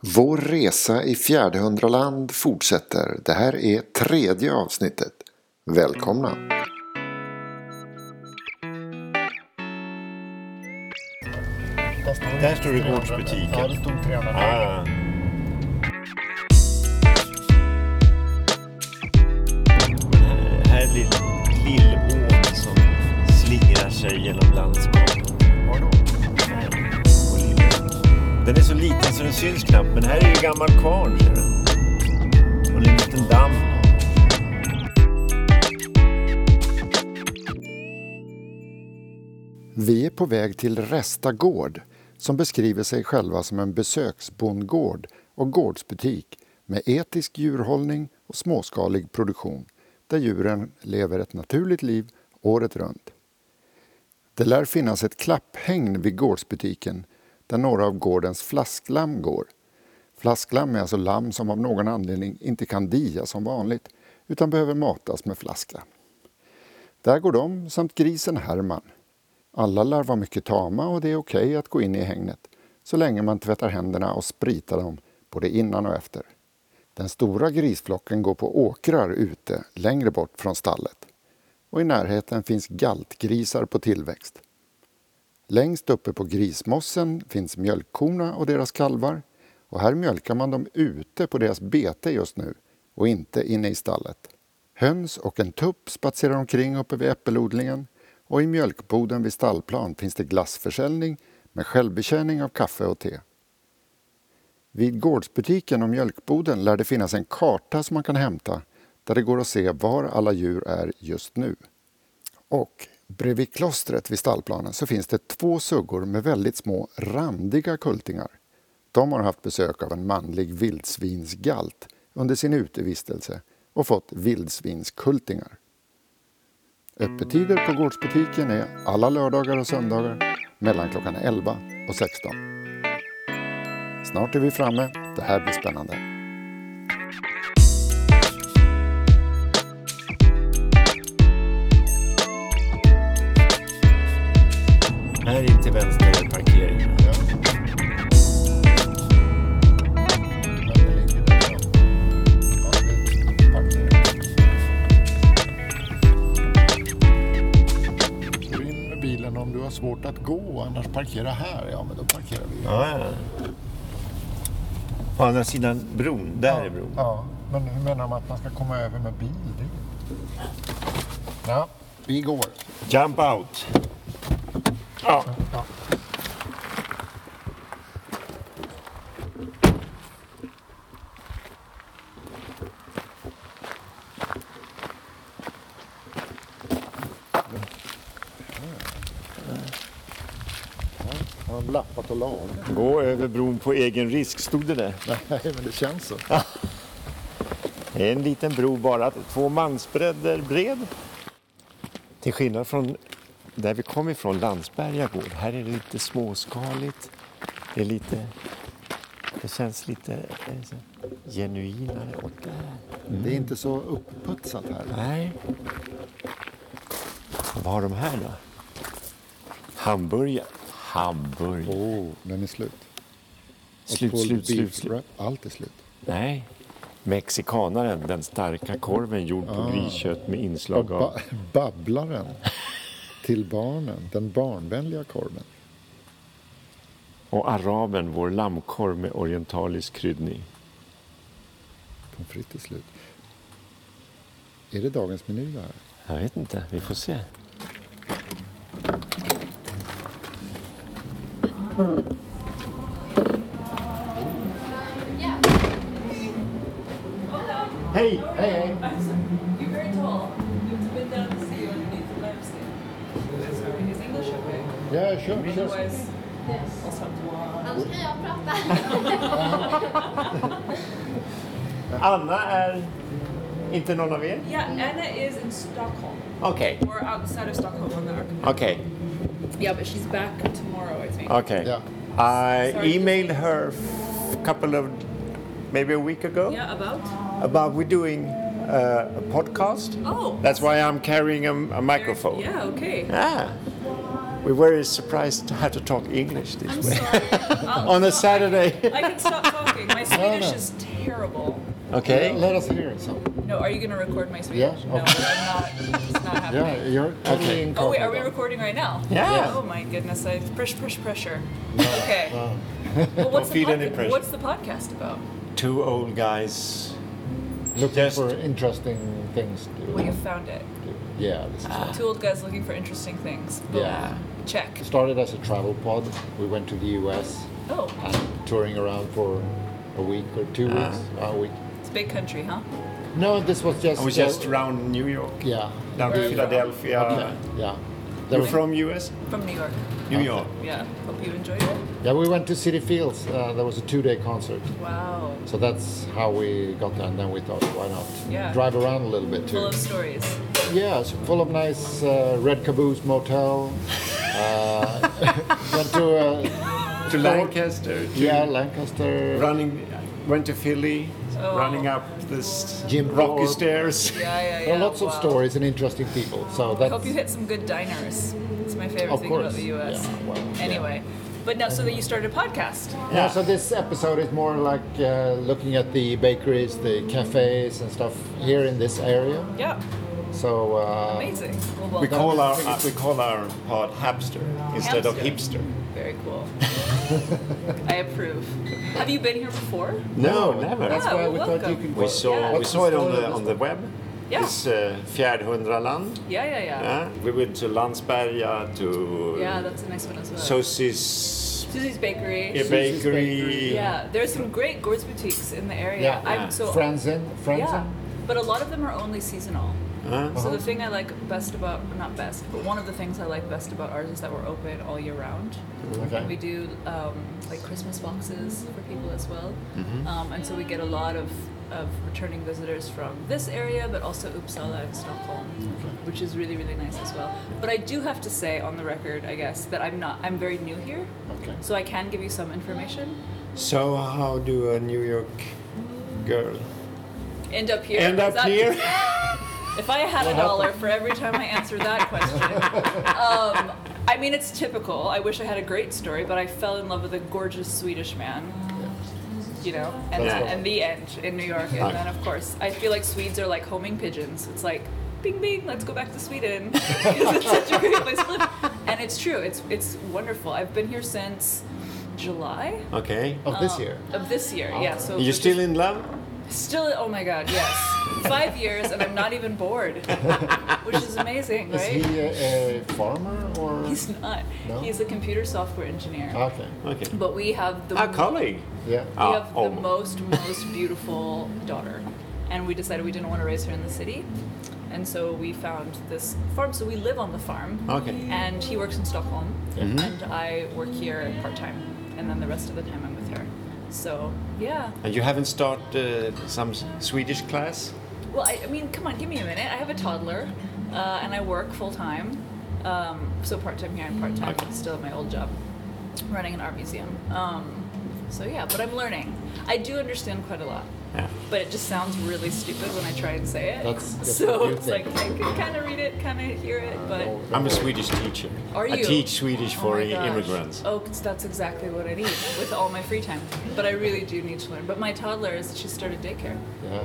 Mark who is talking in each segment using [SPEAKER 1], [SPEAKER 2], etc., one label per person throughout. [SPEAKER 1] Vår resa i fjärdehundraland fortsätter. Det här är tredje avsnittet. Välkomna!
[SPEAKER 2] Där står det gårdsbutiken.
[SPEAKER 3] Ja, det stod 300.
[SPEAKER 2] Ah. Det här är lill- Lillån som slingrar sig genom landskapet.
[SPEAKER 3] Var då?
[SPEAKER 2] Och Lillån. Den är så liten så den syns knappt, men här är ju gammal kvarn. ser du. Och en liten damm.
[SPEAKER 1] Vi är på väg till Resta gård som beskriver sig själva som en besöksbondgård och gårdsbutik med etisk djurhållning och småskalig produktion där djuren lever ett naturligt liv året runt. Det lär finnas ett klapphägn vid gårdsbutiken där några av gårdens flasklamm går. Flasklamm är alltså lamm som av någon anledning inte kan dia som vanligt utan behöver matas med flaska. Där går de samt grisen Herman. Alla lär vara mycket tama och det är okej att gå in i hägnet så länge man tvättar händerna och spritar dem både innan och efter. Den stora grisflocken går på åkrar ute längre bort från stallet och i närheten finns galtgrisar på tillväxt. Längst uppe på grismossen finns mjölkkorna och deras kalvar och här mjölkar man dem ute på deras bete just nu och inte inne i stallet. Höns och en tupp spatserar omkring uppe vid äppelodlingen och i mjölkboden vid stallplan finns det glassförsäljning med självbetjäning av kaffe och te. Vid gårdsbutiken och mjölkboden lär det finnas en karta som man kan hämta där det går att se var alla djur är just nu. Och bredvid klostret vid stallplanen så finns det två suggor med väldigt små randiga kultingar. De har haft besök av en manlig vildsvinsgalt under sin utevistelse och fått vildsvinskultingar. Öppettider på gårdsbutiken är alla lördagar och söndagar mellan klockan 11 och 16. Snart är vi framme. Det här blir spännande.
[SPEAKER 2] Här in till vänster är parkeringen.
[SPEAKER 3] Ja. Men det ligger där fram. Ja, det är parkering. Kör in med bilen om du har svårt att gå, annars parkera här. Ja, men då parkerar vi.
[SPEAKER 2] Ja, ja. På andra sidan bron. Där är bron.
[SPEAKER 3] Ja, men hur menar man att man ska komma över med bil? Det- Ja, vi går.
[SPEAKER 2] Jump out. Ja.
[SPEAKER 3] Har de lappat och lagat?
[SPEAKER 2] Gå över bron på egen risk, stod det där.
[SPEAKER 3] Nej, men det känns så.
[SPEAKER 2] Det är en liten bro bara, två mansbredder bred. Till skillnad från där vi kom ifrån, Landsberga gård. Här är det lite småskaligt. Det är lite... Det känns lite eh, så här, genuinare. Och där.
[SPEAKER 3] Det är inte så uppputsat här.
[SPEAKER 2] Nej. Vad har de här då? Hamburgare. Hamburgare.
[SPEAKER 3] Oh, den är slut.
[SPEAKER 2] Slut,
[SPEAKER 3] Pulled beef
[SPEAKER 2] slut, slut, slut.
[SPEAKER 3] wrap. Allt är slut.
[SPEAKER 2] Nej. Mexikanaren, den starka korven gjord på griskött med
[SPEAKER 3] Ah. Och
[SPEAKER 2] inslag av...
[SPEAKER 3] ba- babblaren till barnen, den barnvänliga korven.
[SPEAKER 2] Och araben, vår lammkorv med orientalisk kryddning.
[SPEAKER 3] Pommes frites är slut. Är det dagens meny det här?
[SPEAKER 2] Jag vet inte, vi får se. Hej!
[SPEAKER 4] You're very tall. You have to bend down to see you underneath the lampstand. Is English okay?
[SPEAKER 3] Ja, kör, kör.
[SPEAKER 4] Otherwise, I'll stop tomorrow.
[SPEAKER 5] Annars kan jag prata.
[SPEAKER 2] Anna är inte någon av er?
[SPEAKER 4] Yeah, Anna is in Stockholm.
[SPEAKER 2] Okej,
[SPEAKER 4] We're outside of Stockholm on the archipelago.
[SPEAKER 2] okej,
[SPEAKER 4] Yeah, but she's back tomorrow, I think.
[SPEAKER 2] okej.
[SPEAKER 3] Ja.
[SPEAKER 2] I emailed her a couple of, maybe a week ago.
[SPEAKER 4] Yeah, about?
[SPEAKER 2] about we're doing uh, a podcast.
[SPEAKER 4] Oh.
[SPEAKER 2] That's why I'm carrying a, a microphone.
[SPEAKER 4] Yeah, okay.
[SPEAKER 2] Ah. We were very surprised how to talk English this way
[SPEAKER 5] Sorry.
[SPEAKER 4] Oh.
[SPEAKER 2] on a Saturday.
[SPEAKER 4] I can stop talking. My Swedish is terrible.
[SPEAKER 3] Okej.
[SPEAKER 6] Let us hear it. So.
[SPEAKER 4] No, are you going to record my Swedish?
[SPEAKER 6] Yeah,
[SPEAKER 4] No,
[SPEAKER 6] okay.
[SPEAKER 4] I'm not. It's not happening.
[SPEAKER 6] Yeah, you're totally
[SPEAKER 3] Okay.
[SPEAKER 6] in
[SPEAKER 4] Oh wait, are we
[SPEAKER 6] Copenhagen.
[SPEAKER 4] recording right now?
[SPEAKER 3] Yeah.
[SPEAKER 4] Oh my goodness, I push, push, pressure. okay. Well, what's, the
[SPEAKER 3] feel any
[SPEAKER 4] podca-
[SPEAKER 3] pressure.
[SPEAKER 4] what's the podcast about?
[SPEAKER 3] Two old guys.
[SPEAKER 6] Looking
[SPEAKER 3] Just-
[SPEAKER 6] for interesting things. To,
[SPEAKER 4] Well, you found it. Ah,
[SPEAKER 6] yeah, this is
[SPEAKER 4] Two old guys looking for interesting things. Boom.
[SPEAKER 6] Yeah.
[SPEAKER 4] Check.
[SPEAKER 6] it. started as a travel pod. We went to the US
[SPEAKER 4] Oh,
[SPEAKER 6] and touring around for a week or two weeks. A week.
[SPEAKER 4] it's a big country, huh?
[SPEAKER 6] No, this was just.
[SPEAKER 3] I was
[SPEAKER 6] uh,
[SPEAKER 3] just around New York,
[SPEAKER 6] yeah.
[SPEAKER 3] down to Philadelphia.
[SPEAKER 6] Yeah. There
[SPEAKER 3] You're
[SPEAKER 6] was-
[SPEAKER 3] from US?
[SPEAKER 4] From New York.
[SPEAKER 3] New York.
[SPEAKER 4] Yeah. Hope you enjoyed it.
[SPEAKER 6] yeah, we went to City Fields. Uh, there was a two-day concert.
[SPEAKER 4] Wow.
[SPEAKER 6] So that's how we got there, and then we thought, why not
[SPEAKER 4] Yeah.
[SPEAKER 6] drive around a little bit too?
[SPEAKER 4] Full of stories.
[SPEAKER 6] Yeah, it's full of nice uh, Red Caboose Motel. Uh, went to uh,
[SPEAKER 3] To Lancaster. To
[SPEAKER 6] yeah Lancaster.
[SPEAKER 3] Running, went to Philly, running up this
[SPEAKER 6] Jim
[SPEAKER 3] rocky
[SPEAKER 6] Thorpe.
[SPEAKER 3] stairs.
[SPEAKER 4] Yeah, yeah, yeah.
[SPEAKER 6] There are lots of
[SPEAKER 4] wow.
[SPEAKER 6] stories and interesting people. So
[SPEAKER 4] I hope you
[SPEAKER 6] that's
[SPEAKER 4] hit some good diners. It's my favorite
[SPEAKER 6] Of
[SPEAKER 4] thing about
[SPEAKER 6] course.
[SPEAKER 4] the U.S.
[SPEAKER 6] Yeah, well, yeah.
[SPEAKER 4] anyway, but now so that you started a podcast.
[SPEAKER 6] yeah. So this episode is more like uh, looking at the bakeries, the cafes, and stuff here in this area.
[SPEAKER 4] Yeah.
[SPEAKER 6] So uh,
[SPEAKER 4] Amazing. Well, well
[SPEAKER 3] We
[SPEAKER 4] done.
[SPEAKER 3] call our uh, we call our pod Hapster instead of
[SPEAKER 4] Hamster.
[SPEAKER 3] hipster.
[SPEAKER 4] Very cool. I approve. Have you been here before?
[SPEAKER 3] No,
[SPEAKER 6] That's
[SPEAKER 4] Ah,
[SPEAKER 6] why we
[SPEAKER 4] welcome.
[SPEAKER 6] thought you could.
[SPEAKER 3] We saw
[SPEAKER 4] Yeah.
[SPEAKER 3] we
[SPEAKER 6] What's
[SPEAKER 3] saw it
[SPEAKER 6] the
[SPEAKER 3] on
[SPEAKER 6] story
[SPEAKER 3] the
[SPEAKER 6] of
[SPEAKER 3] on
[SPEAKER 6] this
[SPEAKER 3] the web.
[SPEAKER 4] Yeah.
[SPEAKER 3] This uh, Fjärdhundraland.
[SPEAKER 4] Yeah, yeah, yeah.
[SPEAKER 3] Yeah. We went to Landsberga to
[SPEAKER 4] Yeah, that's a nice one as well.
[SPEAKER 3] Sosis
[SPEAKER 4] Susie's Bakery.
[SPEAKER 3] a bakery.
[SPEAKER 4] Yeah, there's some great gourds boutiques in the area.
[SPEAKER 6] Yeah,
[SPEAKER 3] yeah.
[SPEAKER 4] I'm so
[SPEAKER 6] Franzen, Franzen.
[SPEAKER 4] yeah, but a lot of them are only seasonal.
[SPEAKER 6] Uh-huh.
[SPEAKER 3] Huh?
[SPEAKER 4] So the thing I like best about not best, but one of the things I like best about ours is that we're open all year round.
[SPEAKER 6] Okay.
[SPEAKER 4] We do um, like Christmas boxes for people as well,
[SPEAKER 6] Mm-hmm.
[SPEAKER 4] um, and so we get a lot of, of returning visitors from this area, but also Uppsala and Stockholm, which is really really nice as well. But I do have to say on the record, I guess, that I'm not I'm very new here,
[SPEAKER 6] Okay.
[SPEAKER 4] so I can give you some information.
[SPEAKER 3] So how do a New York girl
[SPEAKER 4] End up here.
[SPEAKER 3] end
[SPEAKER 4] is
[SPEAKER 3] up
[SPEAKER 4] that-
[SPEAKER 3] here?
[SPEAKER 4] If I had a dollar for every time I answered that question. um, I mean, it's typical. I wish I had a great story, but I fell in love with a gorgeous Swedish man. You know, and,
[SPEAKER 3] That's
[SPEAKER 4] that,
[SPEAKER 3] cool.
[SPEAKER 4] and the end in New York. And
[SPEAKER 3] Nice.
[SPEAKER 4] then, of course, I feel like Swedes are like homing pigeons. It's like, bing, bing, let's go back to Sweden. it's such a great place to live. And it's true, it's, it's wonderful. I've been here since July
[SPEAKER 3] Okay.
[SPEAKER 4] Oh,
[SPEAKER 6] Of this year.
[SPEAKER 4] of this year. Yeah, so
[SPEAKER 3] You're still in love?
[SPEAKER 4] Still, oh my god, yes. Five years and I'm not even bored, which is amazing,
[SPEAKER 6] Is
[SPEAKER 4] right?
[SPEAKER 6] he a, a farmer or?
[SPEAKER 4] He's not.
[SPEAKER 6] No?
[SPEAKER 4] He's a computer software engineer.
[SPEAKER 6] Okay.
[SPEAKER 3] Okay.
[SPEAKER 4] But we have the
[SPEAKER 3] A
[SPEAKER 4] mo-
[SPEAKER 3] colleague.
[SPEAKER 6] Yeah.
[SPEAKER 4] we
[SPEAKER 3] Ah,
[SPEAKER 4] have the
[SPEAKER 3] almost.
[SPEAKER 4] most most beautiful daughter, and we decided we didn't want to raise her in the city, and so we found this farm. So we live on the farm.
[SPEAKER 3] Okay. Mm-hmm.
[SPEAKER 4] And he works in Stockholm, and I work here part time, and then the rest of the time I'm with her. So yeah.
[SPEAKER 3] And you haven't started uh, some s- Swedish class?
[SPEAKER 4] Well, I, I mean, come on, give me a minute. I have a toddler, uh, and I work full time, um, so part time here and part time
[SPEAKER 3] Okay.
[SPEAKER 4] still at my old job, running an art museum. Um, so yeah, but I'm learning. I do understand quite a lot,
[SPEAKER 3] Yeah.
[SPEAKER 4] but it just sounds really stupid when I try and say it.
[SPEAKER 6] That's- that's what
[SPEAKER 4] so
[SPEAKER 6] you
[SPEAKER 4] it's
[SPEAKER 6] think.
[SPEAKER 4] like I can kind of read it, kind of hear it, but.
[SPEAKER 3] I'm a Swedish teacher.
[SPEAKER 4] Are
[SPEAKER 3] I
[SPEAKER 4] you?
[SPEAKER 3] teach Swedish
[SPEAKER 4] Oh
[SPEAKER 3] for
[SPEAKER 4] my
[SPEAKER 3] i-
[SPEAKER 4] gosh.
[SPEAKER 3] immigrants.
[SPEAKER 4] Oh, 'cause that's exactly what I need with all my free time. But I really do need to learn. But my toddler is she started daycare.
[SPEAKER 6] Yeah.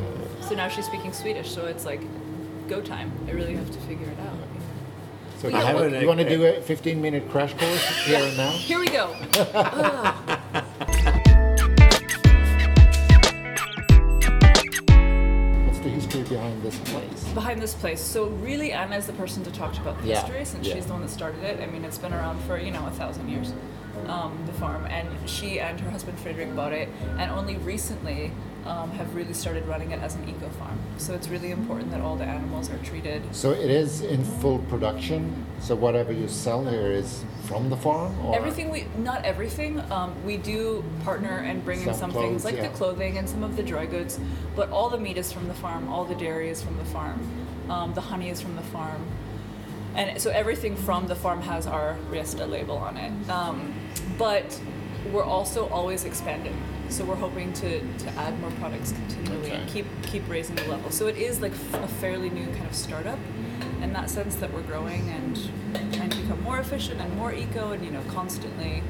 [SPEAKER 4] So now she's speaking Swedish, so it's like go time. I really have to figure it out.
[SPEAKER 6] So
[SPEAKER 4] I
[SPEAKER 6] you
[SPEAKER 4] have
[SPEAKER 6] want-
[SPEAKER 3] an-
[SPEAKER 6] you want to do a 15 minute crash course here and now?
[SPEAKER 4] Here we go.
[SPEAKER 6] What's the history behind this place?
[SPEAKER 4] Behind this place. So really Anna is the person to talk to about the
[SPEAKER 6] Yeah,
[SPEAKER 4] history since
[SPEAKER 6] yeah.
[SPEAKER 4] she's the one that started it. I mean it's been around for, you know, a thousand years. Um, the farm and she and her husband Frederick bought it and only recently um, have really started running it as an eco farm. So it's really important that all the animals are treated
[SPEAKER 6] So it is in full production. So whatever you sell here is from the farm, or
[SPEAKER 4] Everything we not everything. Um, we do partner and bring in
[SPEAKER 6] Some
[SPEAKER 4] some things
[SPEAKER 6] clothes,
[SPEAKER 4] like
[SPEAKER 6] yeah.
[SPEAKER 4] the clothing and some of the dry goods, but all the meat is from the farm. All the dairy is from the farm. Um, the honey is from the farm, and so everything from the farm has our Riesta label on it. Um, but we're also always expanding, so we're hoping to, to add more products continually and
[SPEAKER 6] Okay.
[SPEAKER 4] keep keep raising the level. So it is like f- a fairly new kind of startup in that sense that we're growing and trying to become more efficient and more eco and you know constantly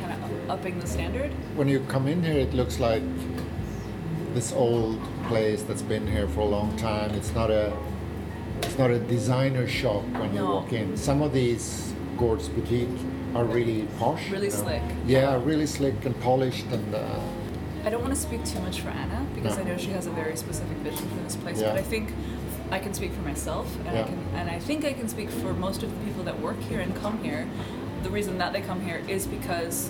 [SPEAKER 4] kind of upping the standard.
[SPEAKER 6] When you come in here, it looks like this old place that's been here for a long time. It's not a it's not a designer shop when you
[SPEAKER 4] No.
[SPEAKER 6] walk in. Some of these Gord's boutique are really posh,
[SPEAKER 4] Really slick.
[SPEAKER 6] Yeah, really slick and polished, and uh,
[SPEAKER 4] I don't want to speak too much for Anna because
[SPEAKER 6] No.
[SPEAKER 4] I know she has a very specific vision for this place.
[SPEAKER 6] Yeah.
[SPEAKER 4] But I think I can speak for myself, and
[SPEAKER 6] Yeah.
[SPEAKER 4] I can, and I think I can speak for most of the people that work here and come here. The reason that they come here is because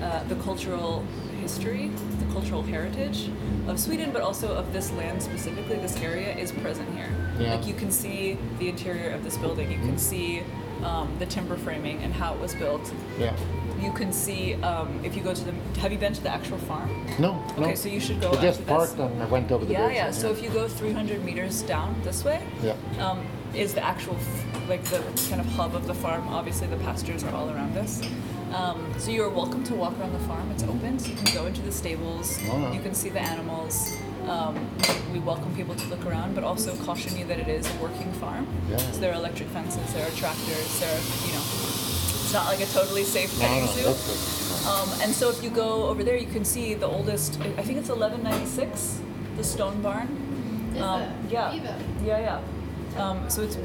[SPEAKER 4] uh, the cultural history, the cultural heritage of Sweden, but also of this land specifically, this area is present here.
[SPEAKER 6] Yeah. Mm-hmm.
[SPEAKER 4] Like you can see the interior of this building, you can see um, the timber framing and how it was built.
[SPEAKER 6] yeah.
[SPEAKER 4] You can see um, if you go to the. Have you been to the actual farm?
[SPEAKER 6] No, no.
[SPEAKER 4] Okay, so you should go
[SPEAKER 6] I just
[SPEAKER 4] after this.
[SPEAKER 6] parked and I went over the
[SPEAKER 4] Yeah,
[SPEAKER 6] bridge.
[SPEAKER 4] yeah. So if you go 300 meters down this way,
[SPEAKER 6] Yeah.
[SPEAKER 4] um, is the actual f- like the kind of hub of the farm. Obviously, the pastures are all around us. Um, so you are welcome to walk around the farm. It's open, so you can go into the stables.
[SPEAKER 6] Wow.
[SPEAKER 4] You can see the animals. Um, we welcome people to look around, but also caution you that it is a working farm.
[SPEAKER 6] Yeah.
[SPEAKER 4] So there are electric fences, there are tractors, there are you know, it's not like a totally safe
[SPEAKER 6] No,
[SPEAKER 4] petting
[SPEAKER 6] no,
[SPEAKER 4] zoo.
[SPEAKER 6] that's good.
[SPEAKER 4] Um, and so if you go over there, you can see the oldest. I think it's 1196, the stone barn.
[SPEAKER 5] Is
[SPEAKER 4] Um,
[SPEAKER 5] it?
[SPEAKER 4] yeah,
[SPEAKER 5] Even.
[SPEAKER 4] yeah, yeah. Um, so it's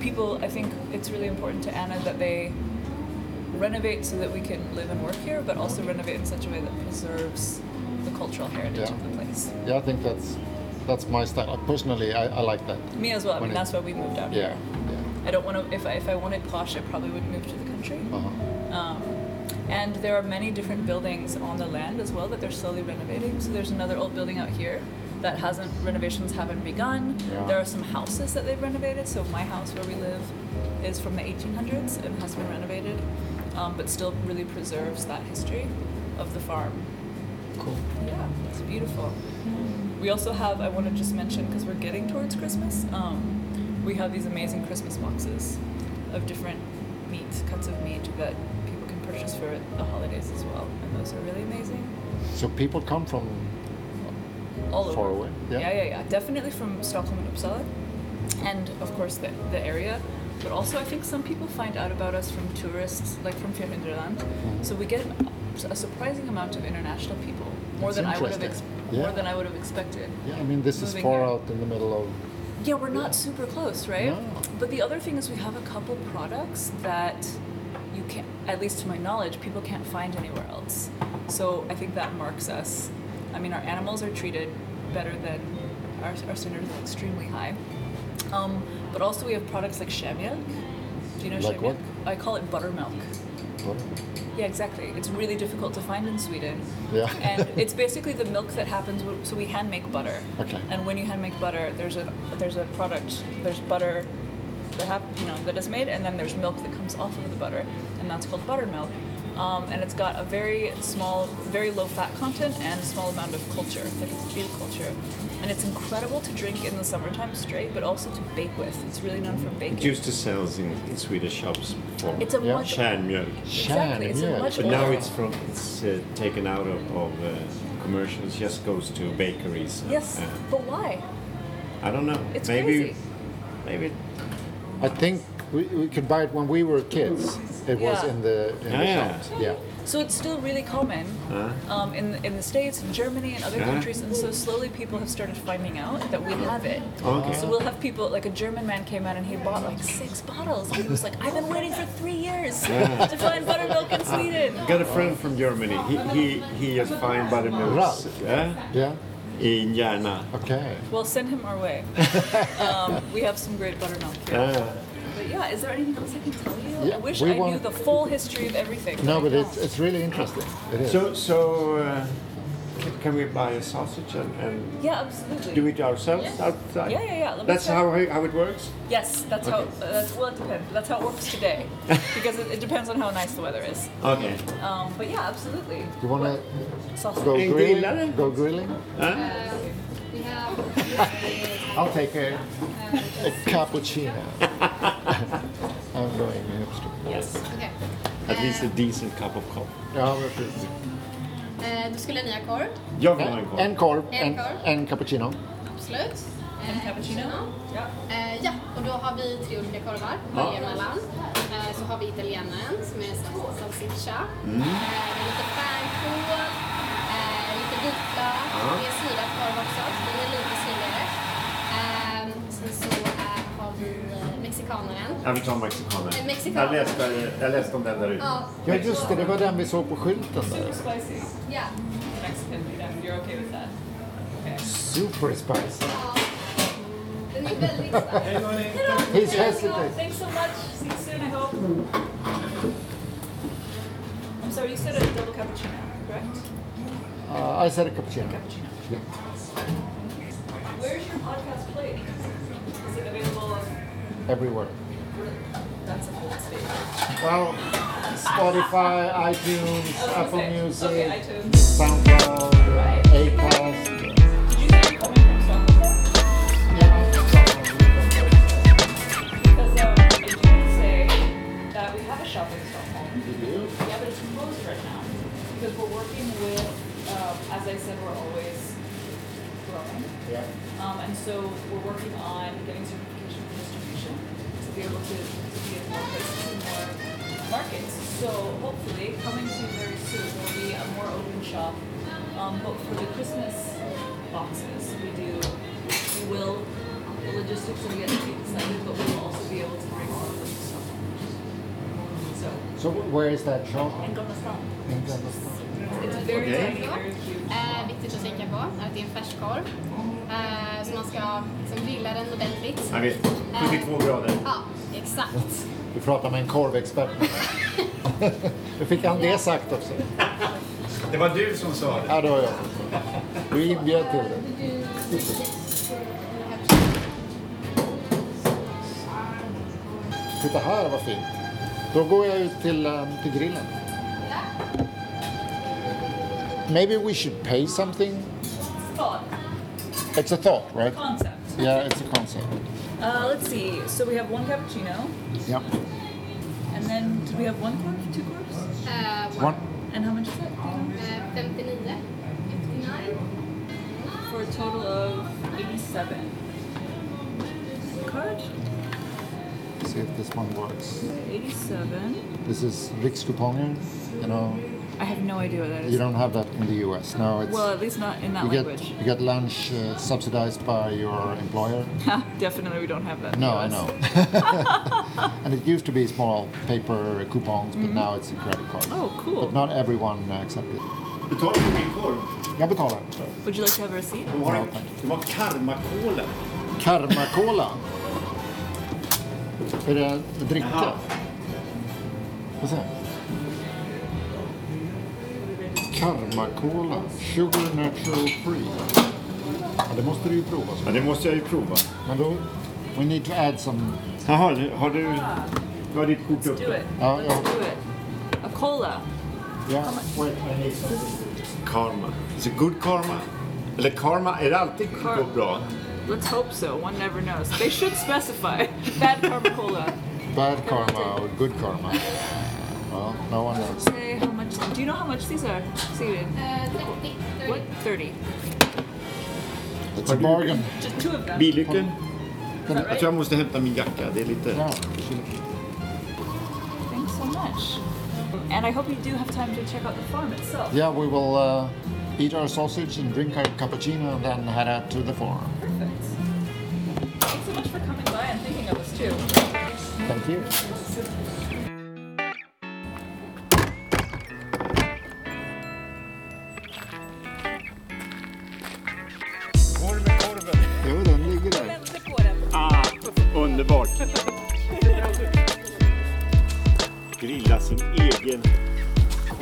[SPEAKER 4] people. I think it's really important to Anna that they renovate so that we can live and work here, but also renovate in such a way that preserves the cultural heritage
[SPEAKER 6] Yeah.
[SPEAKER 4] of the place.
[SPEAKER 6] Yeah, I think that's that's my style. Personally, I, I like that.
[SPEAKER 4] Me as well. I
[SPEAKER 6] When
[SPEAKER 4] mean,
[SPEAKER 6] it-
[SPEAKER 4] that's why we moved out
[SPEAKER 6] Yeah,
[SPEAKER 4] here.
[SPEAKER 6] yeah.
[SPEAKER 4] I don't want to. If I if I wanted posh, I probably would move to the country.
[SPEAKER 6] Uh-huh.
[SPEAKER 4] Um, and there are many different buildings on the land as well that they're slowly renovating. So there's another old building out here that hasn't renovations haven't begun.
[SPEAKER 6] Yeah.
[SPEAKER 4] There are some houses that they've renovated. So my house where we live is from the 1800s and has been renovated, um, but still really preserves that history of the farm.
[SPEAKER 6] Cool.
[SPEAKER 4] Yeah, it's beautiful. We also have, I want to just mention, because we're getting towards Christmas, um, we have these amazing Christmas boxes of different meat, cuts of meat that people can purchase for the holidays as well. And those are really amazing.
[SPEAKER 6] So people come from
[SPEAKER 4] All over.
[SPEAKER 6] Far away, yeah.
[SPEAKER 4] yeah, yeah, yeah. Definitely from Stockholm and Uppsala. And of course, the, the area. But also, I think some people find out about us from tourists, like from Fjärrhinderland.
[SPEAKER 6] Mm-hmm.
[SPEAKER 4] So we get a surprising amount of international people, more
[SPEAKER 6] That's
[SPEAKER 4] than I would have ex-
[SPEAKER 6] interesting.
[SPEAKER 4] more
[SPEAKER 6] Yeah.
[SPEAKER 4] than I would have expected.
[SPEAKER 6] Yeah, I mean, this is
[SPEAKER 4] Moving
[SPEAKER 6] far
[SPEAKER 4] here.
[SPEAKER 6] out in the middle of.
[SPEAKER 4] Yeah, we're not super close, right?
[SPEAKER 6] No.
[SPEAKER 4] But the other thing is we have a couple products that you can't, at least to my knowledge, people can't find anywhere else. So I think that marks us. I mean, our animals are treated better than our, our standards are extremely high. Um, but also we have products like shamilk. Do you know
[SPEAKER 6] Like
[SPEAKER 4] shamilk?
[SPEAKER 6] what?
[SPEAKER 4] I call it buttermilk. Yeah, exactly. It's really difficult to find in Sweden.
[SPEAKER 6] Yeah.
[SPEAKER 4] and it's basically the milk that happens. w- So we hand make butter.
[SPEAKER 6] Okay.
[SPEAKER 4] And when you hand make butter, there's a there's a product. There's butter that hap- you know that is made, and then there's milk that comes off of the butter, and that's called buttermilk. Um, and it's got a very small, very low fat content and a small amount of culture, like it's beet culture. And it's incredible to drink in the summertime straight, but also to bake with. It's really known for baking.
[SPEAKER 3] It used to sell in, in Swedish shops for
[SPEAKER 4] It's a
[SPEAKER 6] Yeah.
[SPEAKER 4] much
[SPEAKER 3] kärnmjölk.
[SPEAKER 4] exactly. It's
[SPEAKER 6] Kärnmjöl.
[SPEAKER 4] a much
[SPEAKER 3] But now
[SPEAKER 4] older-
[SPEAKER 3] it's from it's uh, taken out of, of uh, commercials. Just goes to bakeries.
[SPEAKER 4] yes,
[SPEAKER 3] Uh,
[SPEAKER 4] but why?
[SPEAKER 3] I don't know.
[SPEAKER 4] It's
[SPEAKER 3] maybe,
[SPEAKER 4] crazy.
[SPEAKER 3] Maybe.
[SPEAKER 6] I think we, we could buy it when we were kids. It was
[SPEAKER 4] Yeah.
[SPEAKER 6] in the, in the
[SPEAKER 3] Yeah.
[SPEAKER 6] shops. Yeah.
[SPEAKER 4] So it's still really common um, in in the states, in Germany, and other
[SPEAKER 3] Yeah.
[SPEAKER 4] countries, and so slowly people have started finding out that we have it.
[SPEAKER 3] Okay.
[SPEAKER 4] So we'll have people like a German man came out and he bought like six bottles, and he was like, "I've been waiting for three years to find buttermilk in Sweden."
[SPEAKER 3] Got a friend from Germany. He he he just find buttermilk
[SPEAKER 6] Ralph.
[SPEAKER 3] eh?
[SPEAKER 6] Yeah.
[SPEAKER 3] in Järna.
[SPEAKER 6] Okay.
[SPEAKER 4] Well, send him our way. um, we have some great buttermilk here.
[SPEAKER 3] Ah.
[SPEAKER 4] But yeah, is there anything else I can tell you?
[SPEAKER 6] Yeah,
[SPEAKER 4] I wish
[SPEAKER 6] we
[SPEAKER 4] I knew
[SPEAKER 6] want-
[SPEAKER 4] the full history of everything.
[SPEAKER 6] No,
[SPEAKER 4] I
[SPEAKER 6] but it's,
[SPEAKER 4] don't.
[SPEAKER 6] it's really interesting. It is.
[SPEAKER 3] So so uh, can, can we buy a sausage and, and
[SPEAKER 4] yeah, absolutely.
[SPEAKER 3] do it ourselves outside?
[SPEAKER 4] Yeah, yeah, yeah. Let me
[SPEAKER 3] That's
[SPEAKER 4] check.
[SPEAKER 3] how how it works.
[SPEAKER 4] Yes, that's how. Uh, that's, well, it depends. That's how it works today, because it, it depends on how nice the weather is.
[SPEAKER 3] Okay.
[SPEAKER 4] Um, but yeah, absolutely.
[SPEAKER 6] you want to
[SPEAKER 4] Sausage.
[SPEAKER 6] go
[SPEAKER 3] Hey, do you love
[SPEAKER 6] grilling?
[SPEAKER 3] it?
[SPEAKER 6] Go grilling?
[SPEAKER 5] We have
[SPEAKER 6] I'll take a, a cappuccino. I'm going hipster.
[SPEAKER 4] Yes.
[SPEAKER 5] Okej.
[SPEAKER 3] At least a decent cup of coffee.
[SPEAKER 6] Ja, men precis.
[SPEAKER 5] Eh, Då skulle ni ha korv,
[SPEAKER 3] Jag vill ha en korv.
[SPEAKER 6] En korv.
[SPEAKER 5] En
[SPEAKER 6] En,
[SPEAKER 5] korv.
[SPEAKER 6] en cappuccino.
[SPEAKER 5] absolut.
[SPEAKER 4] En cappuccino? Ja.
[SPEAKER 5] Eh, ja, och då har vi tre olika korvar, varje mellan. Eh, så har vi italienaren som är sal- salsiccia, eh, lite fänkål, eh, lite vitlök, det är syrad korv också, så den är lite syrligare. Eh, sen så eh, har vi eh, mexikanaren.
[SPEAKER 3] Ja, vi tar mexikanen.
[SPEAKER 5] Eh, mexikanen.
[SPEAKER 3] Jag läste, jag läste om den där ute.
[SPEAKER 5] Ja,
[SPEAKER 6] Ja, just det. Det var den vi såg på skylten där.
[SPEAKER 4] Super spicy
[SPEAKER 5] ja.
[SPEAKER 4] Mexican meat. You're okay with that? Okay.
[SPEAKER 6] Super spicy.
[SPEAKER 5] ja. Den är väldigt stark.
[SPEAKER 6] He's hesitating.
[SPEAKER 4] Thanks so much. See you soon, I hope.
[SPEAKER 6] Mm.
[SPEAKER 4] I'm sorry, you said a double cappuccino, correct?
[SPEAKER 6] Uh, I said a cappuccino. Yeah.
[SPEAKER 4] Where's your podcast played? Is it available on...
[SPEAKER 6] Everywhere.
[SPEAKER 4] That's a full space.
[SPEAKER 6] Well, Spotify, iTunes, Apple Music,
[SPEAKER 4] Okay, iTunes.
[SPEAKER 6] SoundCloud, Acast.
[SPEAKER 4] Did you say you're coming from Stockholm?
[SPEAKER 6] Yeah.
[SPEAKER 4] Because um, I did say that we have a shop in Stockholm. Yeah, but it's closed right now because we're working with, um, as I said, we're always growing.
[SPEAKER 6] Yeah.
[SPEAKER 4] Um, and so we're working on getting certification for distribution to be able to, to be in more places and more markets. So hopefully, coming soon, very soon, will be a more open shop. Um, but for the Christmas boxes, we do, we will, the logistics will yet to be decided, but we will also be able to bring all of them to Stockholm. So,
[SPEAKER 6] So where is that shop?
[SPEAKER 4] and Gamlestan.
[SPEAKER 6] In Gamlestan.
[SPEAKER 4] It's very
[SPEAKER 3] Okay.
[SPEAKER 4] tiny, very cute.
[SPEAKER 5] Eh, viktigt att tänka på är att det är en färskkorv. Eh, så man ska liksom grilla den ordentligt.
[SPEAKER 3] Jag vet. 72 grader.
[SPEAKER 5] Ja, exakt.
[SPEAKER 6] Vi pratar med en korvexpert. Nu fick han det sagt också.
[SPEAKER 3] Det var du som sa det.
[SPEAKER 6] Ja, det var jag. Du är inbjuden till det. Titta här vad fint. Då går jag ut till, um, till grillen. Maybe we should pay something.
[SPEAKER 4] Thought,
[SPEAKER 6] It's a thought, right?
[SPEAKER 4] concept.
[SPEAKER 6] Yeah, it's a concept.
[SPEAKER 4] Uh, let's see. So we have one cappuccino,
[SPEAKER 6] Yeah.
[SPEAKER 4] and then did we have one corp, two corps?
[SPEAKER 5] Eh,
[SPEAKER 6] One.
[SPEAKER 4] And how much is that? Do you know?
[SPEAKER 5] eh, 59. 59.
[SPEAKER 4] For a total of eighty-seven. Card.
[SPEAKER 6] See if this one works.
[SPEAKER 4] Eighty-seven.
[SPEAKER 6] This is Rikskuponger. You know,
[SPEAKER 4] I have no idea what that
[SPEAKER 6] you
[SPEAKER 4] is.
[SPEAKER 6] don't have that in the US. No, it's.
[SPEAKER 4] Well, at least not in that
[SPEAKER 6] you
[SPEAKER 4] language.
[SPEAKER 6] get you get lunch uh, subsidized by your employer.
[SPEAKER 4] Definitely, we don't have that. in
[SPEAKER 6] No,
[SPEAKER 4] the
[SPEAKER 6] I
[SPEAKER 4] US.
[SPEAKER 6] know. and it used to be small paper coupons, but now it's a credit card.
[SPEAKER 4] Mm-hmm. Oh, cool.
[SPEAKER 6] But not everyone uh, accepts it.
[SPEAKER 3] Betala för min korv.
[SPEAKER 6] Jag betalar.
[SPEAKER 4] Would you like to have a receipt?
[SPEAKER 3] De har en, de har karmakola.
[SPEAKER 6] Karma Cola. Är det en dricka?
[SPEAKER 3] Jaha.
[SPEAKER 6] Vad säger jag? Karma Cola. Sugar Natural Free. Ja, det måste du ju prova. så.
[SPEAKER 3] Ja, det måste jag ju prova.
[SPEAKER 6] Men då... We need to add some...
[SPEAKER 3] Jaha, du- har du... Du har ditt kort
[SPEAKER 4] Do
[SPEAKER 3] uppe.
[SPEAKER 4] it.
[SPEAKER 6] Ja,
[SPEAKER 4] Let's
[SPEAKER 6] ja.
[SPEAKER 4] do it. A cola.
[SPEAKER 6] Yeah. Wait, I need something.
[SPEAKER 3] Karma. Is it good karma? Eller karma, är det alltid
[SPEAKER 4] Kar-
[SPEAKER 3] går bra?
[SPEAKER 4] Let's hope so. One never knows. They should specify. Bad karma cola.
[SPEAKER 6] Bad karma or good karma. Well, no one knows.
[SPEAKER 4] Say how much. Do you know how much these are? Seated.
[SPEAKER 5] Eh, 30.
[SPEAKER 4] What? 30.
[SPEAKER 6] It's a bargain.
[SPEAKER 4] Just two of them.
[SPEAKER 3] Bilyckan?
[SPEAKER 4] that
[SPEAKER 3] Jag
[SPEAKER 4] right?
[SPEAKER 3] tror jag måste hämta min jacka. Det är lite...
[SPEAKER 6] Yeah.
[SPEAKER 4] Thanks so much. And I hope you do have time to check out the farm itself.
[SPEAKER 6] Yeah, we will uh, eat our sausage and drink our cappuccino and then head out to the farm.
[SPEAKER 4] Perfect. Thanks so much for coming by and thinking of us too.
[SPEAKER 6] Thank you.
[SPEAKER 3] Korv är korven.
[SPEAKER 6] Jo, den ligger där.
[SPEAKER 3] Ah, underbart. Grilla sin egen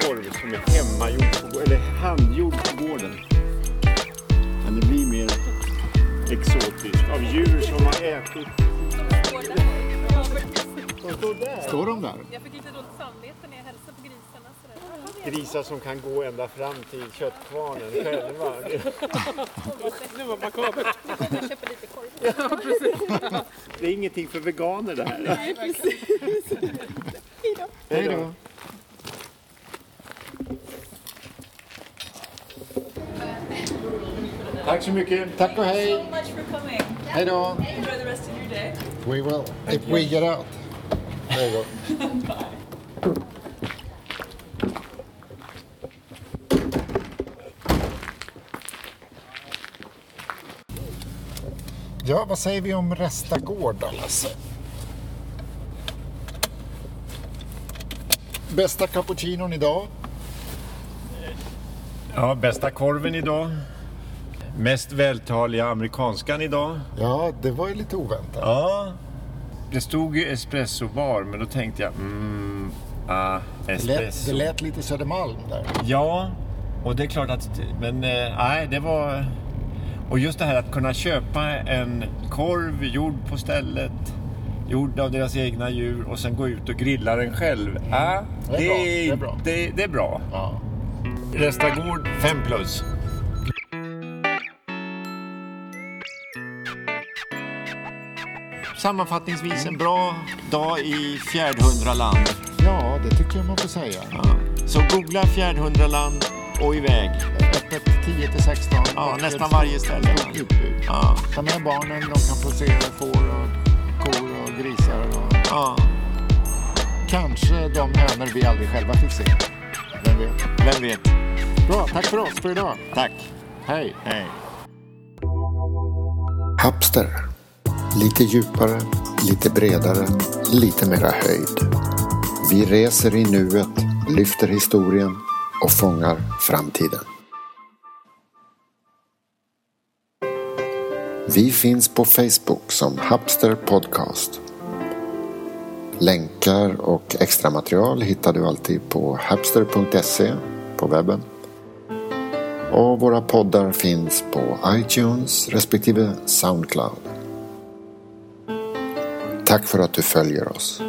[SPEAKER 3] korv som är hemmagjord, på, gå- eller handgjord på gården. Kan det bli mer exotiskt av djur som har ätit? De står där.
[SPEAKER 6] Står de där?
[SPEAKER 7] Jag fick lite dåligt samvete när jag hälsade på grisarna. Sådär.
[SPEAKER 3] Grisar som kan gå ända fram till köttkvarnen själva.
[SPEAKER 7] Det var makabert. Nu kommer jag köpa lite korv.
[SPEAKER 3] Det är ingenting för veganer det här. Nej, precis. Hej då. Tack så mycket.
[SPEAKER 6] Tack och hej!
[SPEAKER 4] So much for coming.
[SPEAKER 6] Hej då!
[SPEAKER 4] Enjoy the rest of your day.
[SPEAKER 6] We will, if we get out. There you go. Ja, vad säger vi om Resta gård då, Lasse? Bästa cappuccinon idag?
[SPEAKER 3] Ja, bästa korven idag. Mest vältaliga amerikanskan idag.
[SPEAKER 6] Ja, det var ju lite oväntat.
[SPEAKER 3] Ja. Det stod ju espressobar, men då tänkte jag, mm, ah,
[SPEAKER 6] Det lät,
[SPEAKER 3] espresso.
[SPEAKER 6] det lät lite Södermalm där.
[SPEAKER 3] Ja, och det är klart att, men eh, nej, det var... Och just det här att kunna köpa en korv gjord på stället, gjord av deras egna djur och sen gå ut och grilla den själv. Ah,
[SPEAKER 6] Det är bra, det är bra.
[SPEAKER 3] Det, det är bra.
[SPEAKER 6] Ja.
[SPEAKER 3] Restagård 5 plus. Sammanfattningsvis en bra dag i Fjärdhundraland.
[SPEAKER 6] ja, det tycker jag man får säga.
[SPEAKER 3] Ja. Så googla Fjärdhundraland och iväg.
[SPEAKER 6] Öppet 10 till 16.
[SPEAKER 3] Ja,
[SPEAKER 6] Öppet
[SPEAKER 3] nästan
[SPEAKER 6] stort-
[SPEAKER 3] varje ställe.
[SPEAKER 6] Stort utbud.
[SPEAKER 3] Ja.
[SPEAKER 6] Ta med barnen, de kan få se får och kor och grisar och
[SPEAKER 3] Ja,
[SPEAKER 6] kanske de hönor vi aldrig själva fick se. Vem vet?
[SPEAKER 3] vem vet.
[SPEAKER 6] Bra, tack för oss för idag.
[SPEAKER 3] Tack.
[SPEAKER 6] Hej!
[SPEAKER 3] Hej.
[SPEAKER 1] Hapster. Lite djupare, lite bredare, lite mera höjd. Vi reser i nuet, lyfter historien och fångar framtiden. Vi finns på Facebook som Hapster Podcast. Länkar och extra material hittar du alltid på hapster.se på webben. Och våra poddar finns på iTunes respektive Soundcloud. Tack för att du följer oss.